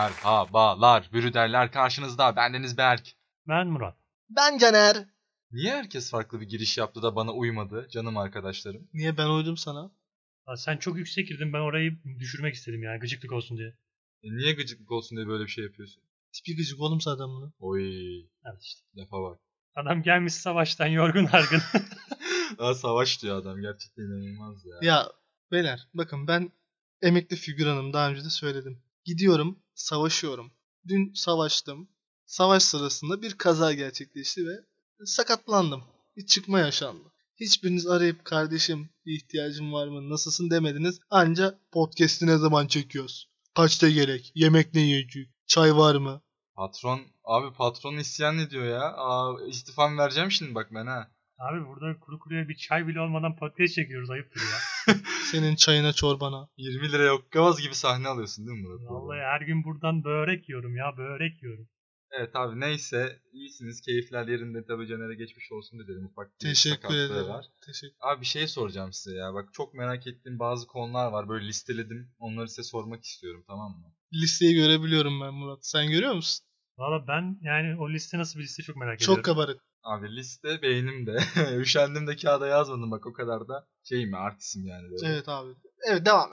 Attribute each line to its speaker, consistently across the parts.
Speaker 1: Merhabalar, bürüderler karşınızda. Bendeniz Berk.
Speaker 2: Ben Murat.
Speaker 3: Ben Caner.
Speaker 1: Niye herkes farklı bir giriş yaptı da bana uymadı canım arkadaşlarım?
Speaker 3: Niye ben uydum sana?
Speaker 2: Aa, sen çok yüksek girdin ben orayı düşürmek istedim yani gıcıklık olsun diye.
Speaker 1: E, niye gıcıklık olsun diye böyle bir şey yapıyorsun?
Speaker 3: Tipi gıcık oğlum zaten bunu.
Speaker 1: Oy,
Speaker 2: Evet işte.
Speaker 1: lafa bak.
Speaker 2: Adam gelmiş savaştan yorgun argın.
Speaker 1: Daha savaş diyor adam. Gerçekten inanılmaz ya.
Speaker 3: Ya beyler bakın ben emekli figüranım daha önce de söyledim. Gidiyorum savaşıyorum. Dün savaştım. Savaş sırasında bir kaza gerçekleşti ve sakatlandım. Bir çıkma yaşandı. Hiçbiriniz arayıp kardeşim bir ihtiyacım var mı nasılsın demediniz. Anca podcast'i ne zaman çekiyoruz? Kaçta gerek? Yemek ne yiyecek? Çay var mı?
Speaker 1: Patron, abi patron isyan ediyor ya. Aa, istifam vereceğim şimdi bak ben ha.
Speaker 2: Abi burada kuru kuruya bir çay bile olmadan patates çekiyoruz ayıptır ya.
Speaker 3: Senin çayına çorbana.
Speaker 1: 20 liraya okkavaz gibi sahne alıyorsun değil mi Murat?
Speaker 2: Vallahi her gün buradan börek yiyorum ya börek yiyorum.
Speaker 1: Evet abi neyse. iyisiniz keyifler yerinde. Tabii Caner'e geçmiş olsun dedim. Ufak bir
Speaker 3: Teşekkür
Speaker 1: sakatlığı
Speaker 3: ederim.
Speaker 1: var.
Speaker 3: Teşekkür
Speaker 1: Abi bir şey soracağım size ya. Bak çok merak ettiğim bazı konular var. Böyle listeledim. Onları size sormak istiyorum tamam mı?
Speaker 3: Listeyi görebiliyorum ben Murat. Sen görüyor musun?
Speaker 2: Valla ben yani o liste nasıl bir liste çok merak ediyorum.
Speaker 3: Çok kabarık.
Speaker 1: Abi liste beynimde. Üşendim de kağıda yazmadım bak o kadar da Şey şeyim ya artistim yani. Böyle.
Speaker 3: Evet abi. Evet devam.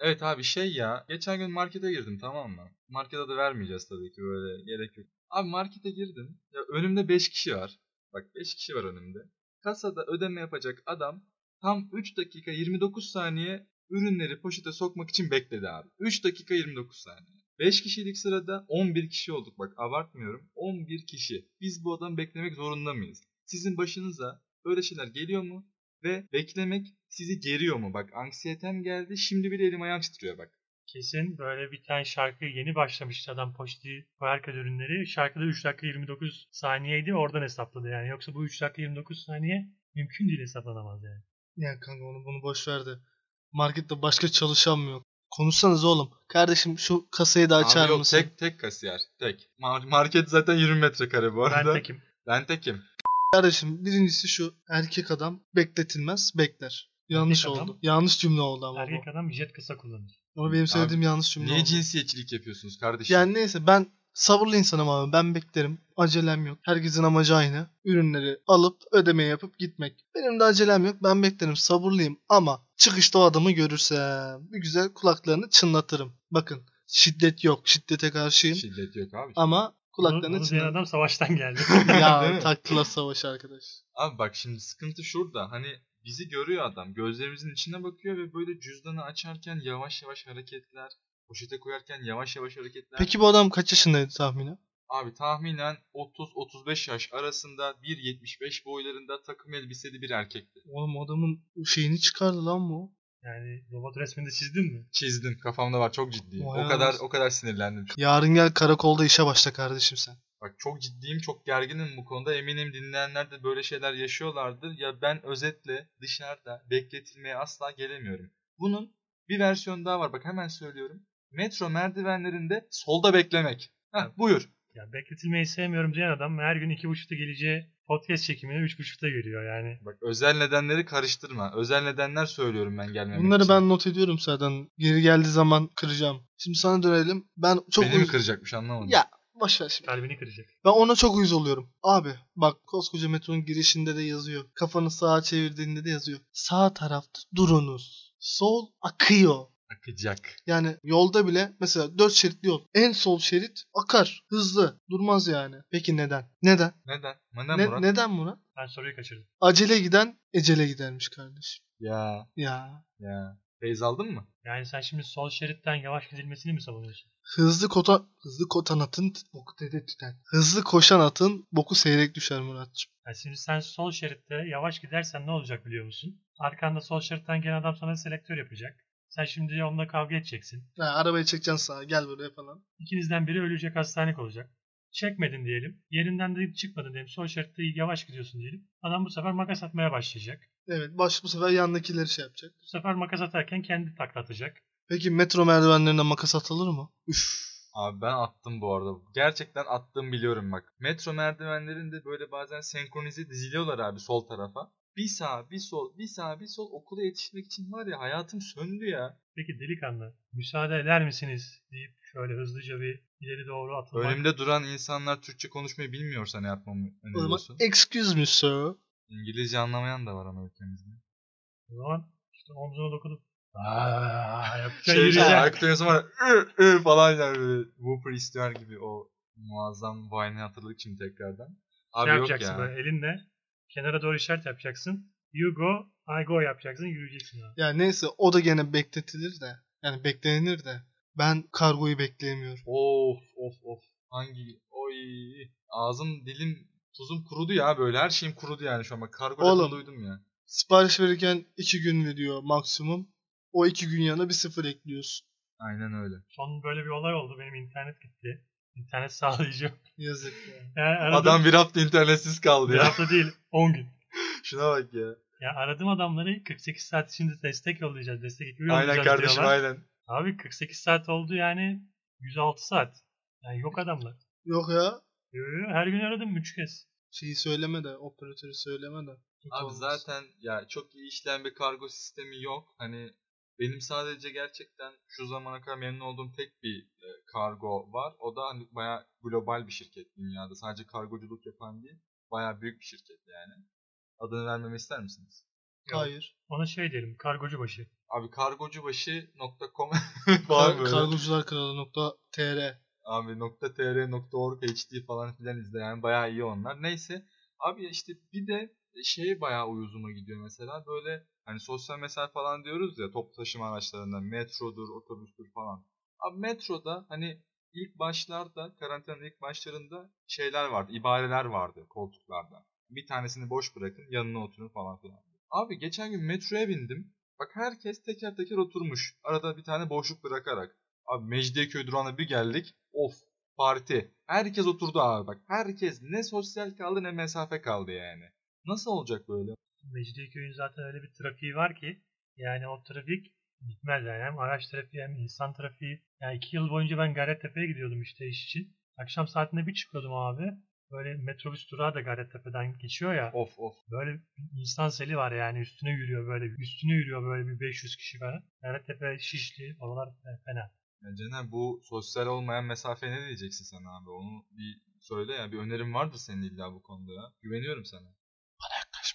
Speaker 1: Evet abi şey ya. Geçen gün markete girdim tamam mı? Markete de vermeyeceğiz tabii ki böyle gerek yok. Abi markete girdim. Ya önümde 5 kişi var. Bak 5 kişi var önümde. Kasada ödeme yapacak adam tam 3 dakika 29 saniye ürünleri poşete sokmak için bekledi abi. 3 dakika 29 saniye. 5 kişilik sırada 11 kişi olduk bak abartmıyorum. 11 kişi. Biz bu adamı beklemek zorunda mıyız? Sizin başınıza böyle şeyler geliyor mu? Ve beklemek sizi geriyor mu? Bak anksiyetem geldi. Şimdi bile elim ayağım titriyor bak.
Speaker 2: Kesin böyle bir tane şarkı yeni başlamıştı adam poşeti koyarken ürünleri. Şarkıda 3 dakika 29 saniyeydi oradan hesapladı yani. Yoksa bu 3 dakika 29 saniye mümkün değil hesaplanamaz yani.
Speaker 3: Ya kanka onu bunu boş ver de. Markette başka çalışan mı yok? Konuşsanız oğlum. Kardeşim şu kasayı da açar
Speaker 1: Abi yok
Speaker 3: mısın?
Speaker 1: tek tek kasiyer. Tek. Mar- market zaten 20 metrekare bu arada.
Speaker 2: Ben tekim.
Speaker 1: Ben tekim.
Speaker 3: Kardeşim birincisi şu. Erkek adam bekletilmez bekler. Yanlış
Speaker 2: Erkek
Speaker 3: oldu.
Speaker 2: adam-
Speaker 3: Yanlış cümle oldu ama
Speaker 2: Erkek adam jet kısa kullanır.
Speaker 3: bu. Ama benim söylediğim yanlış cümle
Speaker 1: Niye
Speaker 3: oldu.
Speaker 1: cinsiyetçilik yapıyorsunuz kardeşim?
Speaker 3: Yani neyse ben sabırlı insanım abi. Ben beklerim. Acelem yok. Herkesin amacı aynı. Ürünleri alıp ödeme yapıp gitmek. Benim de acelem yok. Ben beklerim. Sabırlıyım ama çıkışta o adamı görürsem bir güzel kulaklarını çınlatırım. Bakın şiddet yok. Şiddete karşıyım
Speaker 1: Şiddet yok abi.
Speaker 3: ama
Speaker 2: Kulaklarını
Speaker 3: kulaklarını
Speaker 2: Bunu diyen
Speaker 3: çınlatırım.
Speaker 2: adam savaştan geldi.
Speaker 1: Değil
Speaker 3: ya
Speaker 1: mi?
Speaker 3: takla savaş arkadaş.
Speaker 1: Abi bak şimdi sıkıntı şurada. Hani bizi görüyor adam. Gözlerimizin içine bakıyor ve böyle cüzdanı açarken yavaş yavaş hareketler. Poşete koyarken yavaş yavaş hareketler.
Speaker 3: Peki bu adam kaç yaşındaydı tahminen?
Speaker 1: Abi tahminen 30-35 yaş arasında 1.75 boylarında takım elbiseli bir erkekti.
Speaker 3: Oğlum adamın şeyini çıkardı lan bu.
Speaker 2: yani robot resmini de çizdin mi?
Speaker 1: Çizdim. Kafamda var çok ciddiyim.
Speaker 3: Vay
Speaker 1: o kadar
Speaker 3: anasını.
Speaker 1: o kadar sinirlendim.
Speaker 3: Yarın gel karakolda işe başla kardeşim sen.
Speaker 1: Bak çok ciddiyim, çok gerginim bu konuda. Eminim dinleyenler de böyle şeyler yaşıyorlardır. Ya ben özetle dışarıda bekletilmeye asla gelemiyorum. Bunun bir versiyonu daha var. Bak hemen söylüyorum. Metro merdivenlerinde solda beklemek. Heh, buyur.
Speaker 2: Ya bekletilmeyi sevmiyorum diyen adam her gün 2.30'da geleceği podcast çekimine 3.30'da geliyor yani.
Speaker 1: Bak özel nedenleri karıştırma. Özel nedenler söylüyorum ben gelmemek
Speaker 3: Bunları
Speaker 1: için.
Speaker 3: ben not ediyorum zaten. Geri geldiği zaman kıracağım. Şimdi sana dönelim. Ben çok
Speaker 1: Beni mi
Speaker 3: uyuz-
Speaker 1: kıracakmış anlamadım.
Speaker 3: Ya boş ver şimdi.
Speaker 2: Kalbini kıracak.
Speaker 3: Ben ona çok uyuz oluyorum. Abi bak koskoca metronun girişinde de yazıyor. Kafanı sağa çevirdiğinde de yazıyor. Sağ tarafta durunuz. Sol akıyor.
Speaker 1: Akacak.
Speaker 3: Yani yolda bile mesela dört şeritli yol. En sol şerit akar. Hızlı. Durmaz yani. Peki neden? Neden?
Speaker 1: Neden? Neden
Speaker 3: Ne-
Speaker 1: Murat?
Speaker 3: neden Murat?
Speaker 2: Ben soruyu kaçırdım.
Speaker 3: Acele giden ecele gidermiş kardeşim.
Speaker 1: Ya
Speaker 3: Ya.
Speaker 1: ya. Feyz aldın mı?
Speaker 2: Yani sen şimdi sol şeritten yavaş gidilmesini mi savunuyorsun?
Speaker 3: Hızlı kota hızlı kotan atın boku dede tüten. Hızlı koşan atın boku seyrek düşer Muratçım.
Speaker 2: Yani şimdi sen sol şeritte yavaş gidersen ne olacak biliyor musun? Arkanda sol şeritten gelen adam sana selektör yapacak. Sen şimdi onunla kavga edeceksin.
Speaker 3: Ha, arabayı çekeceksin sağa gel buraya falan.
Speaker 2: İkinizden biri ölecek hastanelik olacak. Çekmedin diyelim. Yerinden de çıkmadın diyelim. Sol şeritte yavaş gidiyorsun diyelim. Adam bu sefer makas atmaya başlayacak.
Speaker 3: Evet baş bu sefer yandakileri şey yapacak.
Speaker 2: Bu sefer makas atarken kendi taklatacak.
Speaker 3: Peki metro merdivenlerinden makas atılır mı? Üf.
Speaker 1: Abi ben attım bu arada. Gerçekten attım biliyorum bak. Metro merdivenlerinde böyle bazen senkronize diziliyorlar abi sol tarafa. Bir sağ, bir sol, bir sağ, bir sol okula yetişmek için var ya hayatım söndü ya.
Speaker 2: Peki delikanlı müsaade eder misiniz deyip şöyle hızlıca bir ileri doğru atılmak.
Speaker 1: Önümde duran insanlar Türkçe konuşmayı bilmiyorsa ne yapmamı
Speaker 3: O zaman
Speaker 1: öneriyorsun?
Speaker 3: excuse me sir.
Speaker 1: İngilizce anlamayan da var ama ülkemizde.
Speaker 2: O zaman işte omzuna dokunup
Speaker 1: Aaa
Speaker 2: yapacaksın
Speaker 1: Şey,
Speaker 2: yürüyeceksin.
Speaker 1: Arkada yazı var. "Ü, ü" falan yani böyle Whooper istiyor gibi o muazzam Vine'i hatırladık şimdi tekrardan. Abi
Speaker 2: şey
Speaker 1: yok
Speaker 2: yapacaksın
Speaker 1: ya.
Speaker 2: böyle elinle kenara doğru işaret yapacaksın. You go, I go yapacaksın, yürüyeceksin abi.
Speaker 3: Ya neyse o da gene bekletilir de. Yani beklenir de. Ben kargoyu bekleyemiyorum.
Speaker 1: Of of of. Hangi? Oy. Ağzım dilim tuzum kurudu ya böyle her şeyim kurudu yani şu an. Bak kargo lafını
Speaker 3: Oğlum.
Speaker 1: duydum ya.
Speaker 3: Sipariş verirken 2 gün veriyor maksimum. O 2 gün yanına bir sıfır ekliyorsun.
Speaker 1: Aynen öyle.
Speaker 2: Son böyle bir olay oldu. Benim internet gitti. İnternet sağlayıcı.
Speaker 3: Yazık ya.
Speaker 2: Yani aradım,
Speaker 1: Adam bir hafta internetsiz kaldı
Speaker 2: bir
Speaker 1: ya.
Speaker 2: hafta değil 10 gün.
Speaker 1: Şuna bak ya.
Speaker 2: Ya aradım adamları 48 saat içinde destek yollayacağız. Destek ekibi yollayacağız
Speaker 1: Aynen kardeşim
Speaker 2: diyorlar.
Speaker 1: aynen.
Speaker 2: Abi 48 saat oldu yani 106 saat. Yani yok adamlar.
Speaker 3: Yok ya.
Speaker 2: Yo, yo, Her gün aradım 3 kez.
Speaker 3: Şeyi söyleme de. Operatörü söyleme de. Kötü
Speaker 1: Abi
Speaker 3: olmaz.
Speaker 1: zaten ya çok iyi işleyen bir kargo sistemi yok. Hani benim sadece gerçekten şu zamana kadar memnun olduğum tek bir e, kargo var. O da hani bayağı global bir şirket dünyada. Sadece kargoculuk yapan değil. Bayağı büyük bir şirket yani. Adını vermemi ister misiniz?
Speaker 2: Yok.
Speaker 3: Hayır.
Speaker 2: Ona şey diyelim kargocu başı.
Speaker 1: Abi kargocubaşı.com
Speaker 3: Kar-
Speaker 1: falan böyle.
Speaker 3: kargocular kralı.tr
Speaker 1: Abi nokta .tr, nokta .org, HD falan filan izle yani bayağı iyi onlar. Neyse abi işte bir de şey bayağı uyuzuma gidiyor mesela böyle hani sosyal mesafe falan diyoruz ya toplu taşıma araçlarından metrodur, otobüstür falan. Abi metroda hani ilk başlarda karantinanın ilk başlarında şeyler vardı, ibareler vardı koltuklarda. Bir tanesini boş bırakın yanına oturun falan filan. Abi geçen gün metroya bindim. Bak herkes teker teker oturmuş. Arada bir tane boşluk bırakarak. Abi Mecidiyeköy durağına bir geldik. Of parti. Herkes oturdu abi bak. Herkes ne sosyal kaldı ne mesafe kaldı yani. Nasıl olacak böyle?
Speaker 2: Mecidiyeköy'ün zaten öyle bir trafiği var ki yani o trafik bitmez yani. Hem araç trafiği hem insan trafiği. Yani iki yıl boyunca ben Gayrettepe'ye gidiyordum işte iş için. Akşam saatinde bir çıkıyordum abi. Böyle metrobüs durağı da Gayrettepe'den geçiyor ya.
Speaker 1: Of of.
Speaker 2: Böyle bir insan seli var yani üstüne yürüyor böyle. Üstüne yürüyor böyle bir 500 kişi falan. Gayrettepe, Şişli, oralar fena.
Speaker 1: Ya Cener bu sosyal olmayan mesafe ne diyeceksin sen abi? Onu bir söyle ya. Bir önerin vardır senin illa bu konuda ya. Güveniyorum sana. Bana yaklaşma.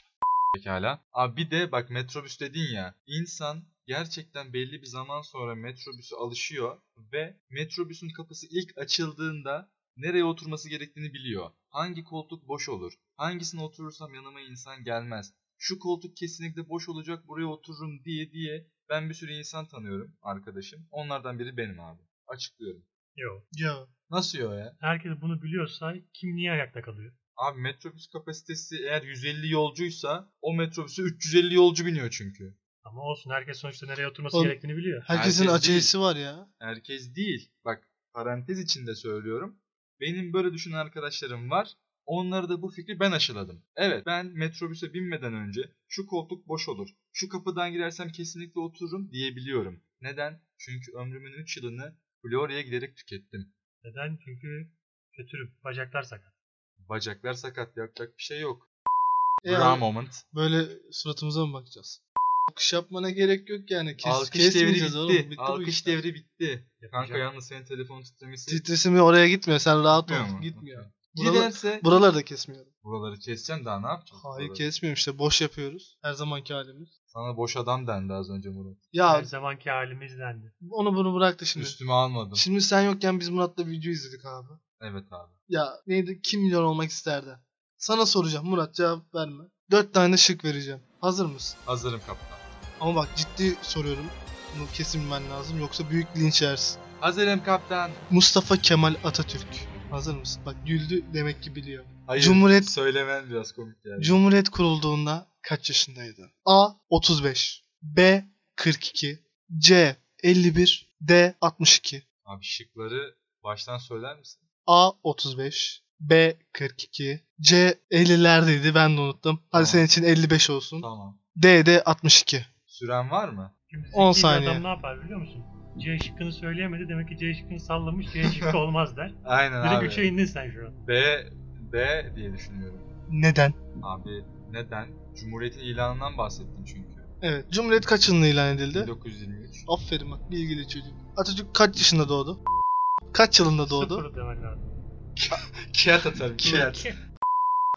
Speaker 1: Pekala. Abi bir de bak metrobüs dedin ya. İnsan gerçekten belli bir zaman sonra metrobüse alışıyor ve metrobüsün kapısı ilk açıldığında nereye oturması gerektiğini biliyor. Hangi koltuk boş olur? Hangisine oturursam yanıma insan gelmez. Şu koltuk kesinlikle boş olacak buraya otururum diye diye ben bir sürü insan tanıyorum arkadaşım. Onlardan biri benim abi. Açıklıyorum.
Speaker 2: Yok.
Speaker 3: Ya.
Speaker 1: Nasıl yo ya?
Speaker 2: Herkes bunu biliyorsa kim niye ayakta kalıyor?
Speaker 1: Abi metrobüs kapasitesi eğer 150 yolcuysa o metrobüse 350 yolcu biniyor çünkü.
Speaker 2: Ama olsun herkes sonuçta nereye oturması
Speaker 3: Oğlum-
Speaker 2: gerektiğini biliyor.
Speaker 3: Herkesin
Speaker 1: Herkes
Speaker 3: acelesi var ya.
Speaker 1: Herkes değil. Bak parantez içinde söylüyorum. Benim böyle düşünen arkadaşlarım var. Onlara da bu fikri ben aşıladım. Evet ben metrobüse binmeden önce şu koltuk boş olur. Şu kapıdan girersem kesinlikle otururum diyebiliyorum. Neden? Çünkü ömrümün 3 yılını Florya'ya giderek tükettim.
Speaker 2: Neden? Çünkü kötürüm. Bacaklar sakat.
Speaker 1: Bacaklar sakat yapacak bir şey yok.
Speaker 3: E,
Speaker 1: Bra moment.
Speaker 3: Böyle suratımıza mı bakacağız? Alkış yapmana gerek yok yani. Kes,
Speaker 1: Alkış devri bitti.
Speaker 3: oğlum. Bitti bu
Speaker 1: Alkış
Speaker 3: işler.
Speaker 1: devri bitti. Kanka
Speaker 2: Yapacak.
Speaker 1: yalnız senin telefon titremesi
Speaker 3: Titresimi oraya gitmiyor. Sen rahat
Speaker 1: Gitmiyor
Speaker 3: ol.
Speaker 1: mu?
Speaker 3: Gitmiyor.
Speaker 1: Okey.
Speaker 3: Buralar-
Speaker 1: Giderse
Speaker 3: Buraları da kesmiyorum.
Speaker 1: buraları keseceğim daha ne yapacağım?
Speaker 3: Hayır kesmiyorum işte. Boş yapıyoruz. Her zamanki halimiz.
Speaker 1: Sana boş adam dendi az önce Murat.
Speaker 2: şey Her
Speaker 3: Ya
Speaker 2: zamanki halimizdendi.
Speaker 3: onu bunu bıraktı şimdi.
Speaker 1: Üstüme almadım.
Speaker 3: Şimdi sen yokken biz Murat'la video izledik abi.
Speaker 1: Evet abi.
Speaker 3: Ya neydi? Kim milyon olmak isterdi? Sana soracağım Murat cevap verme. Dört tane şık vereceğim. Hazır mısın?
Speaker 1: Hazırım kaptan.
Speaker 3: Ama bak ciddi soruyorum. Bunu kesin bilmen lazım yoksa büyük linç yersin.
Speaker 1: Hazırım kaptan.
Speaker 3: Mustafa Kemal Atatürk. Hazır mısın? Bak güldü demek ki biliyor.
Speaker 1: Hayır.
Speaker 3: Cumhuriyet-
Speaker 1: Söylemen biraz komik geldi.
Speaker 3: Cumhuriyet kurulduğunda kaç yaşındaydı? A 35, B 42, C 51, D 62.
Speaker 1: abi şıkları baştan söyler misin?
Speaker 3: A 35, B 42, C 50'lerdeydi ben de unuttum. Hadi
Speaker 1: Tamam.
Speaker 3: senin için 55 olsun.
Speaker 1: Tamam.
Speaker 3: D de 62.
Speaker 1: Süren var mı?
Speaker 2: Şimdi
Speaker 3: 10
Speaker 2: zeki bir
Speaker 3: saniye.
Speaker 2: adam ne yapar biliyor musun? C şıkkını söyleyemedi. Demek ki C şıkkını sallamış. C şıkkı olmaz der.
Speaker 1: Aynen
Speaker 2: Direkt şey-
Speaker 1: abi.
Speaker 2: 3'e indin sen şu an.
Speaker 1: B, B diye düşünüyorum.
Speaker 3: Neden?
Speaker 1: Abi neden? Cumhuriyetin ilanından bahsettin çünkü.
Speaker 3: Evet. Cumhuriyet kaç yılında ilan edildi?
Speaker 1: 1923.
Speaker 3: Aferin bak bilgili çocuk. Atatürk kaç yaşında doğdu? Kaç yılında doğdu?
Speaker 2: Sıfır demen lazım.
Speaker 1: Kağıt atarım kağıt.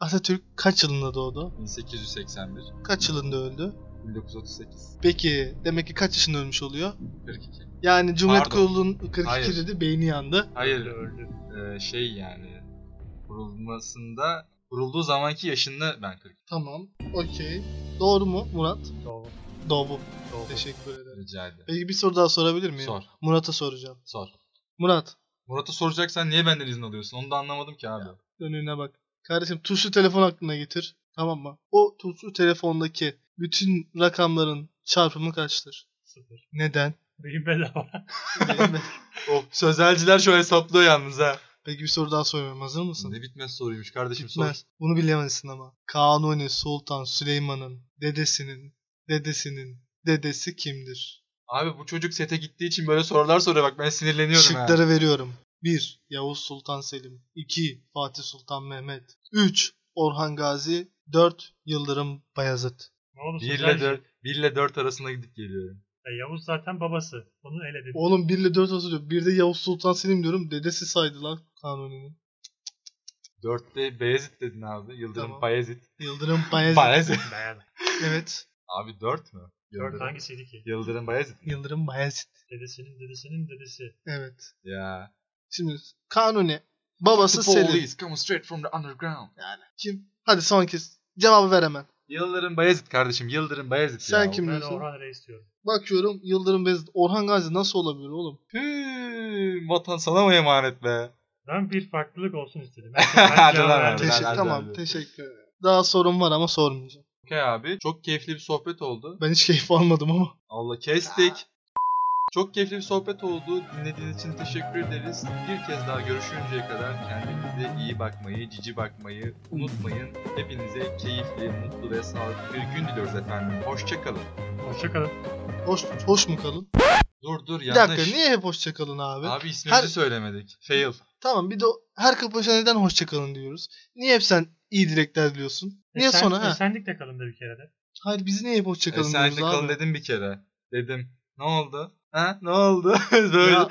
Speaker 3: Atatürk kaç yılında doğdu?
Speaker 1: 1881.
Speaker 3: Kaç yılında öldü?
Speaker 1: 1938.
Speaker 3: Peki demek ki kaç yaşında ölmüş oluyor?
Speaker 1: 42.
Speaker 3: Yani Cumhuriyet
Speaker 1: Pardon.
Speaker 3: Kurulu'nun 42
Speaker 1: Hayır.
Speaker 3: dedi beyni yandı.
Speaker 1: Hayır
Speaker 2: Öldü.
Speaker 1: e, şey yani kurulmasında kurulduğu zamanki yaşında ben 40
Speaker 3: Tamam. Okey. Doğru mu Murat?
Speaker 2: Doğru.
Speaker 3: Doğru.
Speaker 2: Doğru.
Speaker 3: Teşekkür ederim.
Speaker 1: rica ederim.
Speaker 3: Peki bir soru daha sorabilir miyim?
Speaker 1: Sor.
Speaker 3: Murat'a soracağım.
Speaker 1: Sor.
Speaker 3: Murat
Speaker 1: Murat'a soracaksan niye benden izin alıyorsun? Onu da anlamadım ki abi.
Speaker 3: önüne bak. Kardeşim tuşlu telefon aklına getir. Tamam mı? O tuşlu telefondaki bütün rakamların çarpımı kaçtır?
Speaker 2: Sıfır.
Speaker 3: Neden?
Speaker 2: Beyin bedava.
Speaker 1: Oh, sözelciler şöyle hesaplıyor yalnız ha.
Speaker 3: Peki bir soru daha soruyorum. Hazır mısın?
Speaker 1: Ne bitmez soruymuş kardeşim
Speaker 3: Bitmez.
Speaker 1: sor.
Speaker 3: Bunu bilemezsin ama. Kanuni Sultan Süleyman'ın dedesinin dedesinin dedesi kimdir?
Speaker 1: Abi bu çocuk sete gittiği için böyle sorular soruyor bak ben sinirleniyorum
Speaker 3: Şıkları
Speaker 1: ha.
Speaker 3: veriyorum. 1. Yavuz Sultan Selim 2. Fatih Sultan Mehmet 3. Orhan Gazi 4. Yıldırım Bayezid
Speaker 1: 1 ile 4, 1 ile 4 arasında gidip geliyorum.
Speaker 2: E, Yavuz zaten babası. Onu el dedi.
Speaker 3: Oğlum 1 ile 4 hatırlıyorum. Bir de Yavuz Sultan Selim diyorum. Dedesi saydı lan Kanuni'nin.
Speaker 1: 4'te Beyazıt dedin abi. Yıldırım
Speaker 3: Tamam.
Speaker 1: Bayezid.
Speaker 3: Yıldırım Bayezid.
Speaker 1: Bayezid.
Speaker 2: Beyan.
Speaker 3: evet.
Speaker 1: Abi 4 mü?
Speaker 2: Dört hangisiydi ki?
Speaker 1: Yıldırım Bayezid. mi?
Speaker 3: Yıldırım Bayezid.
Speaker 2: Dedesinin dedesinin dedesi.
Speaker 3: Evet.
Speaker 1: Ya.
Speaker 3: Şimdi Kanuni. Babası Selim.
Speaker 1: Police come straight from the underground.
Speaker 3: Yani kim? Hadi son kez. Cevabı ver hemen.
Speaker 1: Yıldırım Bayezid kardeşim. Yıldırım Bayezid
Speaker 3: Sen
Speaker 1: ya.
Speaker 3: kim
Speaker 2: Ben
Speaker 3: diyorsun?
Speaker 2: Orhan Reis diyorum.
Speaker 3: Bakıyorum Yıldırım Bayezid. Orhan Gazi nasıl olabilir oğlum?
Speaker 1: Hüüü, vatan sana mı emanet be?
Speaker 2: Ben bir farklılık olsun istedim.
Speaker 1: Hadi lan abi.
Speaker 2: Ben-
Speaker 3: Teşekkür,
Speaker 1: hadi,
Speaker 3: tamam
Speaker 1: hadi.
Speaker 3: teşekkür ederim. Daha sorum var ama sormayacağım.
Speaker 1: Okey abi. Çok keyifli bir sohbet oldu.
Speaker 3: Ben hiç keyif almadım ama.
Speaker 1: Allah kestik. Çok keyifli bir sohbet oldu. Dinlediğiniz için teşekkür ederiz. Bir kez daha görüşünceye kadar kendinize iyi bakmayı, cici bakmayı unutmayın. Hepinize keyifli, mutlu ve sağlıklı bir gün diliyoruz efendim. Hoşçakalın.
Speaker 2: Hoşçakalın.
Speaker 3: Hoş, hoş mu kalın?
Speaker 1: Dur dur
Speaker 3: Bir
Speaker 1: yanlış.
Speaker 3: dakika niye hep hoşça kalın abi?
Speaker 1: Abi ismimizi
Speaker 3: Her-
Speaker 1: söylemedik. Fail.
Speaker 3: Tamam bir de o- her kapanışa neden hoşça kalın diyoruz? Niye hep sen iyi dilekler diliyorsun? Niye
Speaker 2: Esen-
Speaker 3: sonra ha?
Speaker 2: Esenlikle kalın da bir kere de.
Speaker 3: Hayır biz niye hep hoşça
Speaker 1: E,
Speaker 3: kalın
Speaker 1: sen de
Speaker 3: diyoruz abi?
Speaker 1: kalın dedim bir kere. Dedim. Ne oldu? Ha? Ne oldu? Böyle.
Speaker 3: Ya,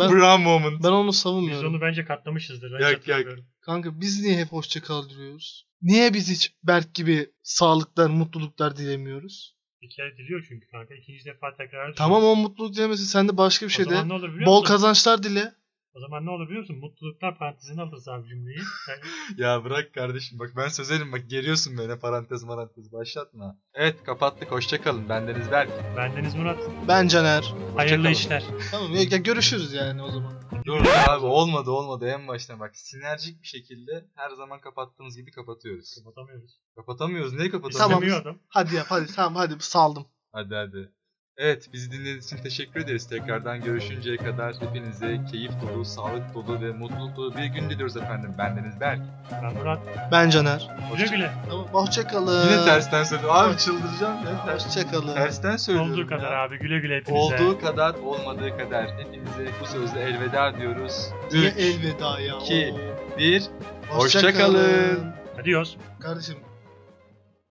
Speaker 3: ben,
Speaker 1: Brown moment.
Speaker 3: ben onu
Speaker 2: Biz
Speaker 3: savunmuyorum.
Speaker 2: onu bence katlamışızdır. Ben
Speaker 1: Yak,
Speaker 2: hiç
Speaker 1: yak.
Speaker 2: hatırlamıyorum.
Speaker 3: Kanka biz niye hep hoşça kal diyoruz? Niye biz hiç Berk gibi sağlıklar, mutluluklar dilemiyoruz?
Speaker 2: Bir kere diliyor çünkü kanka. İkinci defa tekrar
Speaker 3: Tamam o mutluluk dilemesi sen de başka bir şey
Speaker 2: o
Speaker 3: de.
Speaker 2: zaman ne olur biliyor
Speaker 3: Bol
Speaker 2: musun?
Speaker 3: kazançlar dile.
Speaker 2: O zaman ne olur biliyor musun? Mutluluklar parantezine alırız abi cümleyi. Yani
Speaker 1: Ya bırak kardeşim bak ben sözerim bak geriyorsun beni parantez marantez başlatma. Evet kapattık hoşçakalın bendeniz Berk.
Speaker 2: bendeniz Murat.
Speaker 3: Ben Caner.
Speaker 2: Hayırlı
Speaker 1: kalın.
Speaker 2: işler.
Speaker 3: Tamam ya, ya görüşürüz yani o zaman.
Speaker 1: Dur abi olmadı olmadı en baştan bak sinerjik bir şekilde her zaman kapattığımız gibi kapatıyoruz.
Speaker 2: Kapatamıyoruz.
Speaker 1: Kapatamıyoruz niye kapatamıyoruz?
Speaker 3: Tamam.
Speaker 2: İstemiyor adam.
Speaker 3: Hadi yap hadi tamam hadi saldım.
Speaker 1: Hadi hadi. Evet bizi dinlediğiniz için teşekkür ederiz. Tekrardan görüşünceye kadar hepinize keyif dolu, sağlık dolu ve mutluluk dolu bir gün diliyoruz efendim. Bendeniz Berk.
Speaker 2: Ben Murat.
Speaker 3: Ben Caner.
Speaker 2: Güle güle.
Speaker 3: Tamam hoşça kalın.
Speaker 1: Yine tersten söyledim. Abi çıldıracağım ya. Ters-
Speaker 3: Hoşça kalın.
Speaker 1: tersten söylüyorum
Speaker 2: Olduğu
Speaker 1: ya.
Speaker 2: kadar abi. Güle güle hepinize.
Speaker 1: Olduğu kadar olmadığı kadar hepinize bu sözle elveda diyoruz.
Speaker 3: Niye
Speaker 1: 3,
Speaker 3: elveda ya?
Speaker 1: iki,
Speaker 3: Oo.
Speaker 1: 1
Speaker 3: Hoşça
Speaker 1: Hoşça kalın.
Speaker 3: kalın.
Speaker 2: Adios.
Speaker 3: Kardeşim